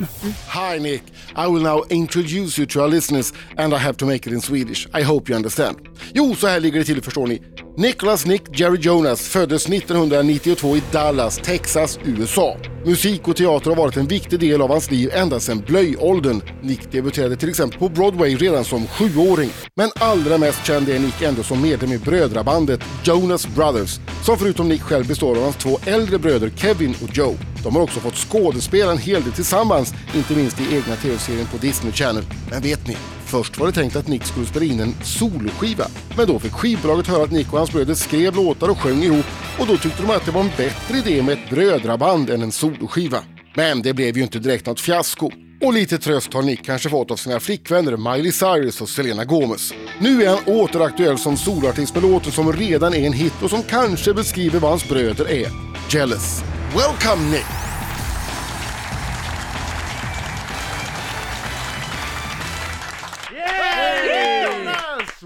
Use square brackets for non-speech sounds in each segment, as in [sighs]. David. Hi, Nick. I will now introduce you to our listeners and I have to make it in Swedish. I hope you understand. Jo, så här ligger det till förstår ni. Nicholas Nick Jerry Jonas föddes 1992 i Dallas, Texas, USA. Musik och teater har varit en viktig del av hans liv ända sedan blöjåldern. Nick debuterade till exempel på Broadway redan som sjuåring. Men allra mest känd är Nick ändå som medlem i brödrabandet Jonas Brothers, som förutom Nick själv består av hans två äldre bröder Kevin och Joe. De har också fått skådespela en hel del tillsammans, inte minst i egna tv-serien på Disney Channel. Men vet ni? Först var det tänkt att Nick skulle spela in en soloskiva, men då fick skivbolaget höra att Nick och hans bröder skrev låtar och sjöng ihop och då tyckte de att det var en bättre idé med ett brödraband än en soloskiva. Men det blev ju inte direkt något fiasko. Och lite tröst har Nick kanske fått av sina flickvänner Miley Cyrus och Selena Gomez. Nu är han åter aktuell som soloartist med låten som redan är en hit och som kanske beskriver vad hans bröder är. Jealous. Welcome Nick!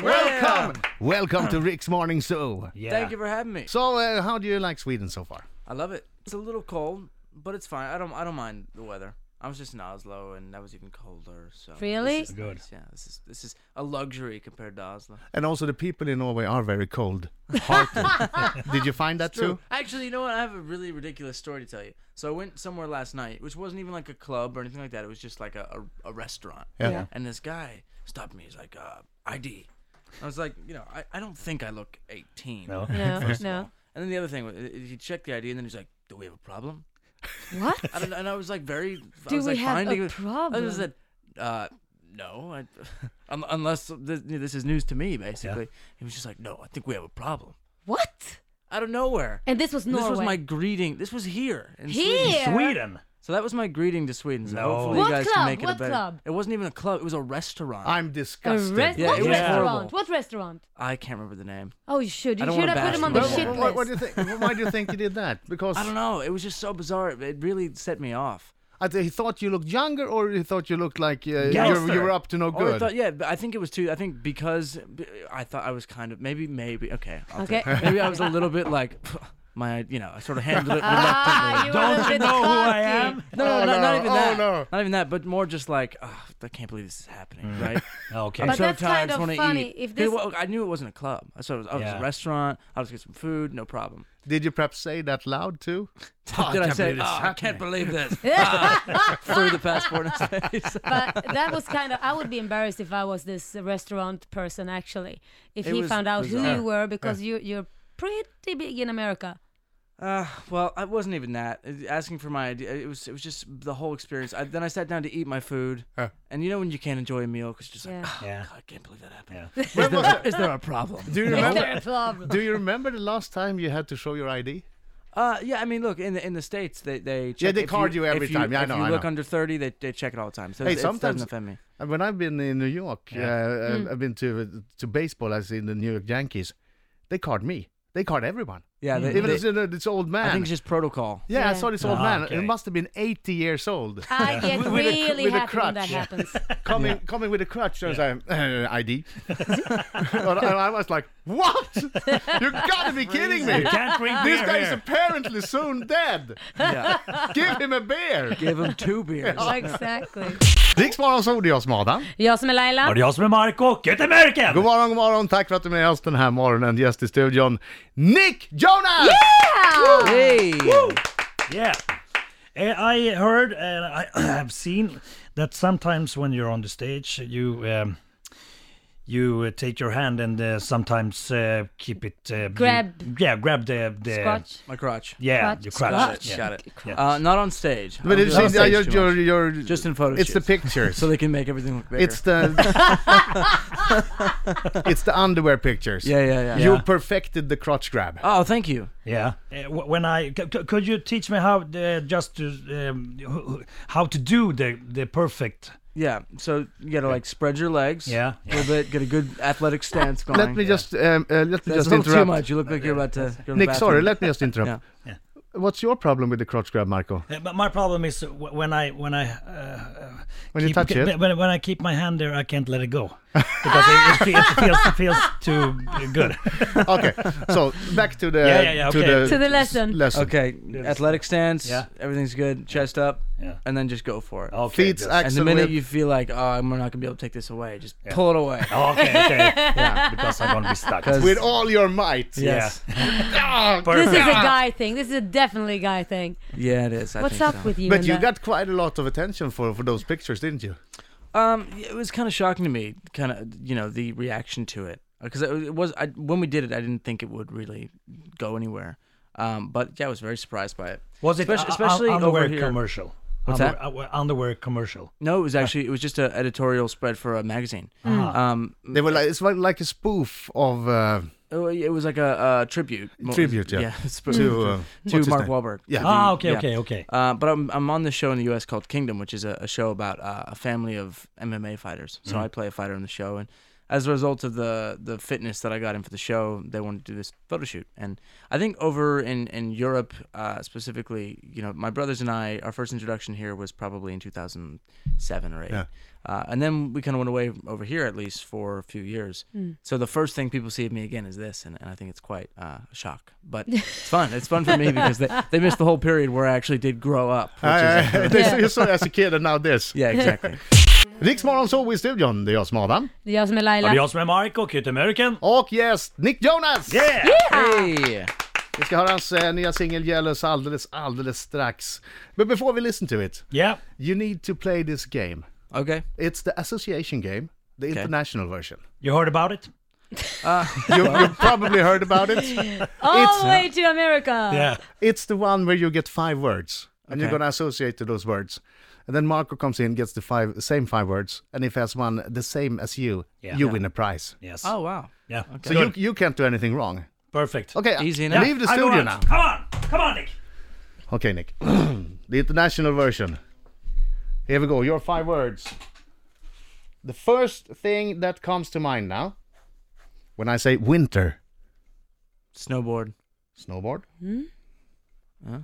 Welcome! Welcome to Rick's Morning Zoo. Yeah. Thank you for having me. So, uh, how do you like Sweden so far? I love it. It's a little cold, but it's fine. I don't I don't mind the weather. I was just in Oslo, and that was even colder. So this Really? is Good. nice. Yeah, this is this is a luxury compared to Oslo. And also, the people in Norway are very cold. Hearted. [laughs] Did you find that too? Actually, you know what? I have a really ridiculous story to tell you. So I went somewhere last night, which wasn't even like a club or anything like that. It was just like a, a, a restaurant. Yeah. Yeah. And this guy stopped me. He's like, uh, ID. I was like, you know, I, I don't think I look 18. No. No, no. And then the other thing, was, uh, he checked the ID, and then he's like, do we have a problem? What? I don't, and I was like very. I Do was we like have fine a to give- I problem? just said, uh, no, I, [laughs] un- unless this, this is news to me. Basically, he was just like, no, I think we have a problem What? out of nowhere. And this was And This was Norway. my greeting. This was here in Sweden. Here? Sweden. So that was my greeting to Sweden. So No. hopefully What you guys club? can make it What a better. club? It wasn't even a club. It was a restaurant. I'm A disgusted. res- Yeah, what it was restaurant? horrible. What restaurant? I can't remember the name. Oh, you should. I You don't should wanna have put bash him on you. the Well, Well, shit what, list. what, what do you think? Why do you think he did [laughs] that? Because I don't know. It was just so bizarre. It really set me off. I th- he thought you looked younger, or he thought you looked like uh, you Gangster. you were up to no Oh, Or I good. thought- yeah, but I think it was too. I think because b- I thought I was kind of maybe maybe okay. I'll Okay. take it. Maybe I was a little bit like my you know I sort of handled it [laughs] Ah, reluctantly. you Don't were a you bit know who I cocky. am? No, no, Oh, not, not no. even Oh, that. no. Not even that, but more just like, oh, I can't believe this is happening, right? Okay. I'm But so that's tired. I kind just of wanna funny Eat. if Hey, this- well, I knew it wasn't a club. I saw it was, I was Yeah. a restaurant. I was get some food, no problem. Did you perhaps say that loud too? Did I, say, believe oh, this is I can't believe this? [laughs] [laughs] Through the passport in his face. But that was kind of. I would be embarrassed if I was this restaurant person actually. If It he was found out who bizarre. you were, because you you're pretty big in [sighs] America. Uh, well, it wasn't even that. Uh, Asking for my idea, it was it was just the whole experience. I, then I sat down to eat my food, Huh. and you know when you can't enjoy a meal because just Yeah. like, oh, Yeah. God, I can't believe that happened. Yeah. When was that? Is there a problem? Do you Is remember? there a [laughs] problem? Do you remember the last time you had to show your ID? Uh, yeah, I mean, look in the in the states, they they check they if card you every if time. Yeah, I if know, you I look know. under thirty, they they check it all the time. So Hey, it's, it sometimes- doesn't offend me. And When I've been in New York, Yeah. uh, I've- I've been to to baseball. I've seen the New York Yankees. They card me. They card everyone. Yeah, they, Even they- this, uh, this old man. I think it's just [laughs] protocol. yeah, I Yeah. saw this old Ah, man. He okay. must have been 80 years old. I get With- with a cr- really with a happy crutch. when that [laughs] happens. coming coming with a crutch. I was like, uh, [laughs] ID. and I was like, what? You gotta be kidding me. Can't drink This beer guy is here. apparently soon dead. Yeah, Give him a beer. give them two beers. [laughs] exactly. Riksmorgon, det är jag som är Adam. Jag som är Och Laila. det är jag som är Marco och jag heter Merken! God morgon, god morgon. Tack för att du är med oss den här morgonen. Gäst i studion, Nick Jonas! Hey, Yeah. Uh, I heard and I [clears throat] have seen that sometimes when you're on the stage, you um, you uh, take your hand and uh, sometimes uh, keep it uh, you- Grab. yeah, grab the the Scotch. my crotch. Yeah, Scotch. you crutch. Crotch. Yeah. Got it. Yeah. Uh, not on stage. I But don't it's do that in, on stage your, too your, much. your, Just in photo It's the shoots. pictures. [laughs] so they can make everything look bigger. it's the it's the underwear pictures. yeah, yeah, yeah. You perfected the crotch grab. Oh, thank you. Yeah. Uh, w- when I c- c- could you teach me how uh, just to um, h- h- how to do the the perfect Yeah. So you gotta like spread your legs. Yeah. A little bit. Get a good athletic stance going. let me just um, uh, let me That's just a little too interrupt. much. You look like you're about to. Go to Nick, the sorry, bathroom. let me just interrupt. Yeah. Yeah. What's your problem with the crotch grab, [laughs] Marco? Uh, But my problem is w- when I when I uh, uh, When you keep- touch it? [laughs] when, when I keep my hand there, I can't let it go. because it, it, feels, it feels feels too [laughs] good. Okay, so back to the Yeah, yeah, yeah, to okay. the To the lesson. lesson. Okay, athletic stance. Yeah. Everything's good. Chest up. Yeah. And then just go for it. Okay, Feeds good. and axle the minute whip. you feel like, oh, I'm not gonna be able to take this away, just pull it away. Okay, [laughs] okay, yeah, because I'm gonna be stuck. 'Cause- with all your might. Yes. Ah, This is a Perfect. guy thing. This is a definitely guy thing. [laughs] Yeah, it is. I What's think up so. with you? But and you that? got quite a lot of attention for, for those pictures, didn't you? Um, it was kind of shocking to me, kind of you know the reaction to it, because it it was I, when we did it, I didn't think it would really go anywhere. Um, but yeah, I was very surprised by it. Was it Especially- especially, especially over underwear here. commercial? What's Under- that? uh, underwear commercial. No, it was actually it was just an editorial spread for a magazine. Uh-huh. Um, They were like it's like, like a spoof of uh, it wa- it was like a, a tribute. mo- Tribute, [laughs] yeah. it's supposed to uh, Mm. to what's his Mark name? Wahlberg. Yeah. Ah, okay, yeah. okay, okay. Uh, but I'm, I'm on this show in the U.S. called Kingdom, which is a, a show about uh, a family of MMA fighters. Mm-hmm. So I play a fighter in the show, and as a result of the the fitness that I got in for the show, they wanted to do this photo shoot. And I think over in in Europe uh, specifically, you know, my brothers and I, our first introduction here was probably in 2007 or eight. Yeah. Uh, and then we kind of went away over here at least for a few years. So the first thing people see of me again is this, and, and I think it's quite uh, a shock. [laughs] But it's fun. It's fun for me because they, they missed the whole period where I actually did grow up. Which is, I, I, Ah, [laughs] they saw- you saw it as a kid and now this. [laughs] yeah, [laughs] exactly. Riksmorgon så i studion, det är jag som är Adam. Det är jag som är Och det är Laila. jag som är Mark och heter Oh. American. Och gäst Nick Jonas! Yeah! hey. Vi ska höra hans eh, nya singel Jealous alldeles, alldeles strax. But before we listen to it, Yeah. you need to play this game. Okay. It's the association game, the international version. You heard about it? You, you probably heard about it. All the way to Uh. America. Yeah. It's the one where you get five words, and you're Okay. gonna associate to those words. And then Marco comes in, gets the five same five words, and if has one the same as you, Yeah. you Yeah. win a prize. Yes. Oh wow. Yeah. So you, you can't do anything wrong. Perfect. Okay, Easy I- enough. leave the I go studio out. now. Come on, come on, Nick. Okay, Nick. [clears throat] the international version. Here we go. Your five words. The first thing that comes to mind now, when I say winter, Snowboard. snowboard, Hmm? Huh?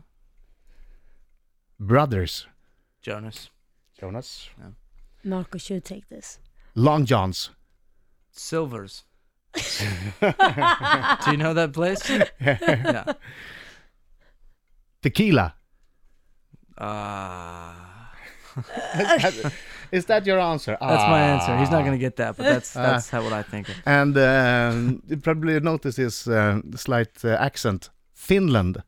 brothers, Jonas. Jonas, Marco should take this. long johns. Silvers. Do you know that place? yeah. Tequila. Uh, Is that your answer? Ah. that's my answer. He's not gonna get that, but [laughs] that's that's how what I think of. And um, you probably noticed his uh, slight uh, accent. Finland.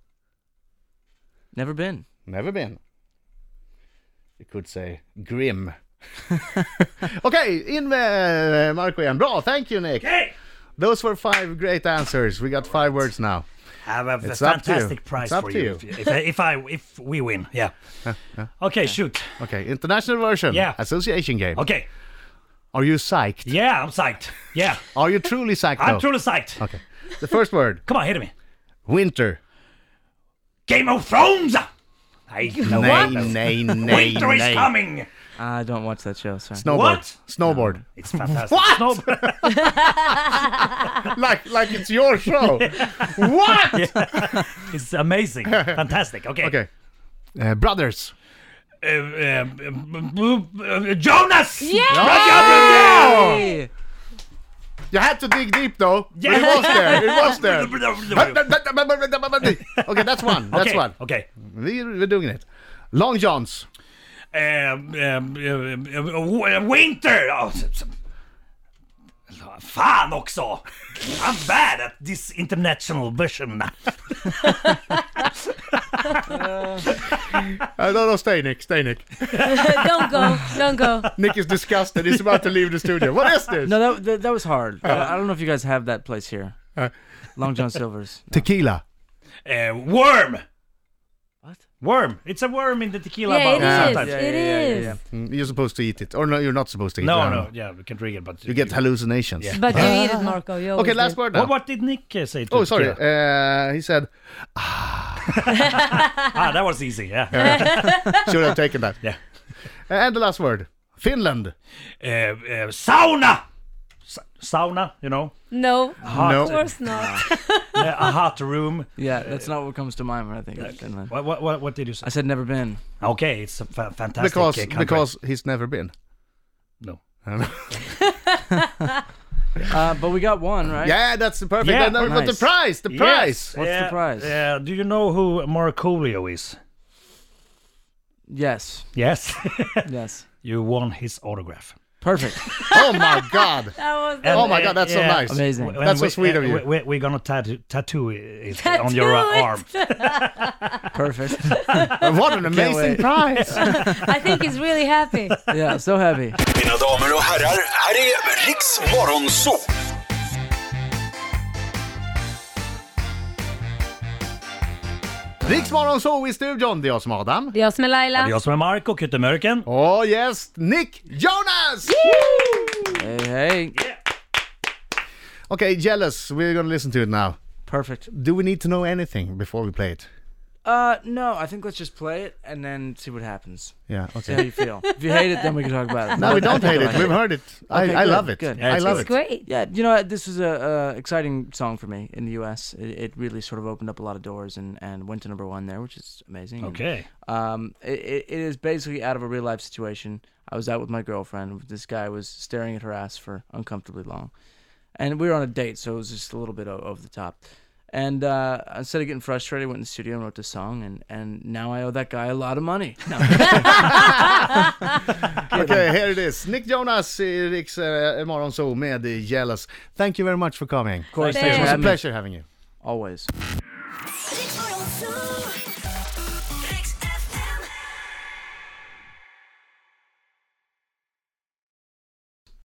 Never been. Never been. You could say grim. [laughs] okay, in med eh, Marco igen. Bra, thank you Nick! Hey, Those were five great answers. We got five words now. have a It's up to you. fantastic prize It's up for to you, you. If, if, if I if we win. Yeah. Okay, shoot. Okay, international version. Yeah. Association game. Okay. Are you psyched? Yeah, I'm psyched. Yeah, Are you truly psyched? I'm though? truly psyched. Okay. The first word. Come on, hit me. Winter. Game of Thrones. I know Nay, it. nay, nay, Winter is nay. coming. I don't watch that show. Sorry. Snowboard. What? Snowboard. It's fantastic. What? [laughs] like like it's your show. what? [laughs] it's amazing. Fantastic. Okay. Okay. Uh, brothers. Uh, um, um, uh, uh, Jonas. Yeah! Hey! You had to dig deep though. but Yeah. [laughs] It was there. It was there. okay, that's one. That's okay. one. Okay. We, we're doing it. Long Johns. um, um, um, um, w- Winter! Oh, s- s- Fan också! I'm bad at this international version. Uh, no, no, stay Nick. Stay Nick. don't go. Don't go. Nick is disgusted. He's about to leave the studio. What is this? No, that, that that was hard. I, I don't know if you guys have that place here. Long John Silver's. Tequila. Uh, worm! What? Worm! It's a worm in the tequila Yeah, it bottle is. [laughs] sometimes. Yeah, It yeah, yeah, yeah, is. yeah. Mm, You're supposed to eat it, or no? You're not supposed to eat it. No, I don't no, know. yeah, we can drink it, but You get hallucinations. But you eat it, Marco. You Okay, always last do. word now. What, what did Nick uh, say? To Oh, sorry. [laughs] tequila? Uh, he said, ah, that was easy. Yeah. should have taken that. Yeah. And the last word, Finland. uh, uh, sauna. Sa- sauna, you [laughs] know, No, hot, No. of course not. uh, a hot room. Yeah, that's not what comes to mind when I think of Finland. What, what, what, what did you say? I said never been. Okay, it's a fa- fantastic. uh, Because [laughs] country. because he's never been. no. Uh, but we got one, right? Yeah, that's the perfect. Yeah, and then- But the nice. price, the price. What's the Yeah, prize? Yeah. Do you know who Marcolio is? Yes. Yes. [laughs] Yes. you won his autograph. Perfect. Oh my god. That was the [laughs] And, Oh my god, that's so yeah. nice. Amazing. When That's so we- sweet of uh, you. We, we, are gonna tattoo, tattoo it on your uh, Tattoo it. arm. [laughs] Perfect. What an amazing wait. [laughs] prize. I think he's really happy. Yeah. So happy. Mina damer och herrar, här är Riks Morgonzoo! Riksmorgon så i studion, det är jag som är Adam. Det är jag som är Det är Laila. jag som är Marco Kyttemörken. Och gäst Nick Jonas! Hey, hey. Okay, Jealous, we're gonna listen to it now. Perfect. Do we need to know anything before we play it? Uh, no, I think let's just play it and then see what happens. Yeah, See how okay. you feel. If you hate it, then we can talk about it. No, we don't hate [laughs] it. Like We've heard it. I, Okay, I good, love it. good. Yeah, I it's love It's it. great. Yeah, you know, this was a, a exciting song for me in the U.S. It, it really sort of opened up a lot of doors and, and went to number one there, which is amazing. And, Okay. um, it, it it is basically out of a real life situation. I was out with my girlfriend. This guy was staring at her ass for uncomfortably long, and we were on a date, so it was just a little bit o- over the top. And uh, instead of getting frustrated, I went in the studio and wrote this song, and, and now I owe that guy a lot of money. No. [laughs] Okay, here it is. Nick Jonas i Riks uh, Morgonzoo med Jealous. Thank you very much for coming. Of course, thanks It for was a having me. pleasure having you. Always. Riksmorgon, zoo.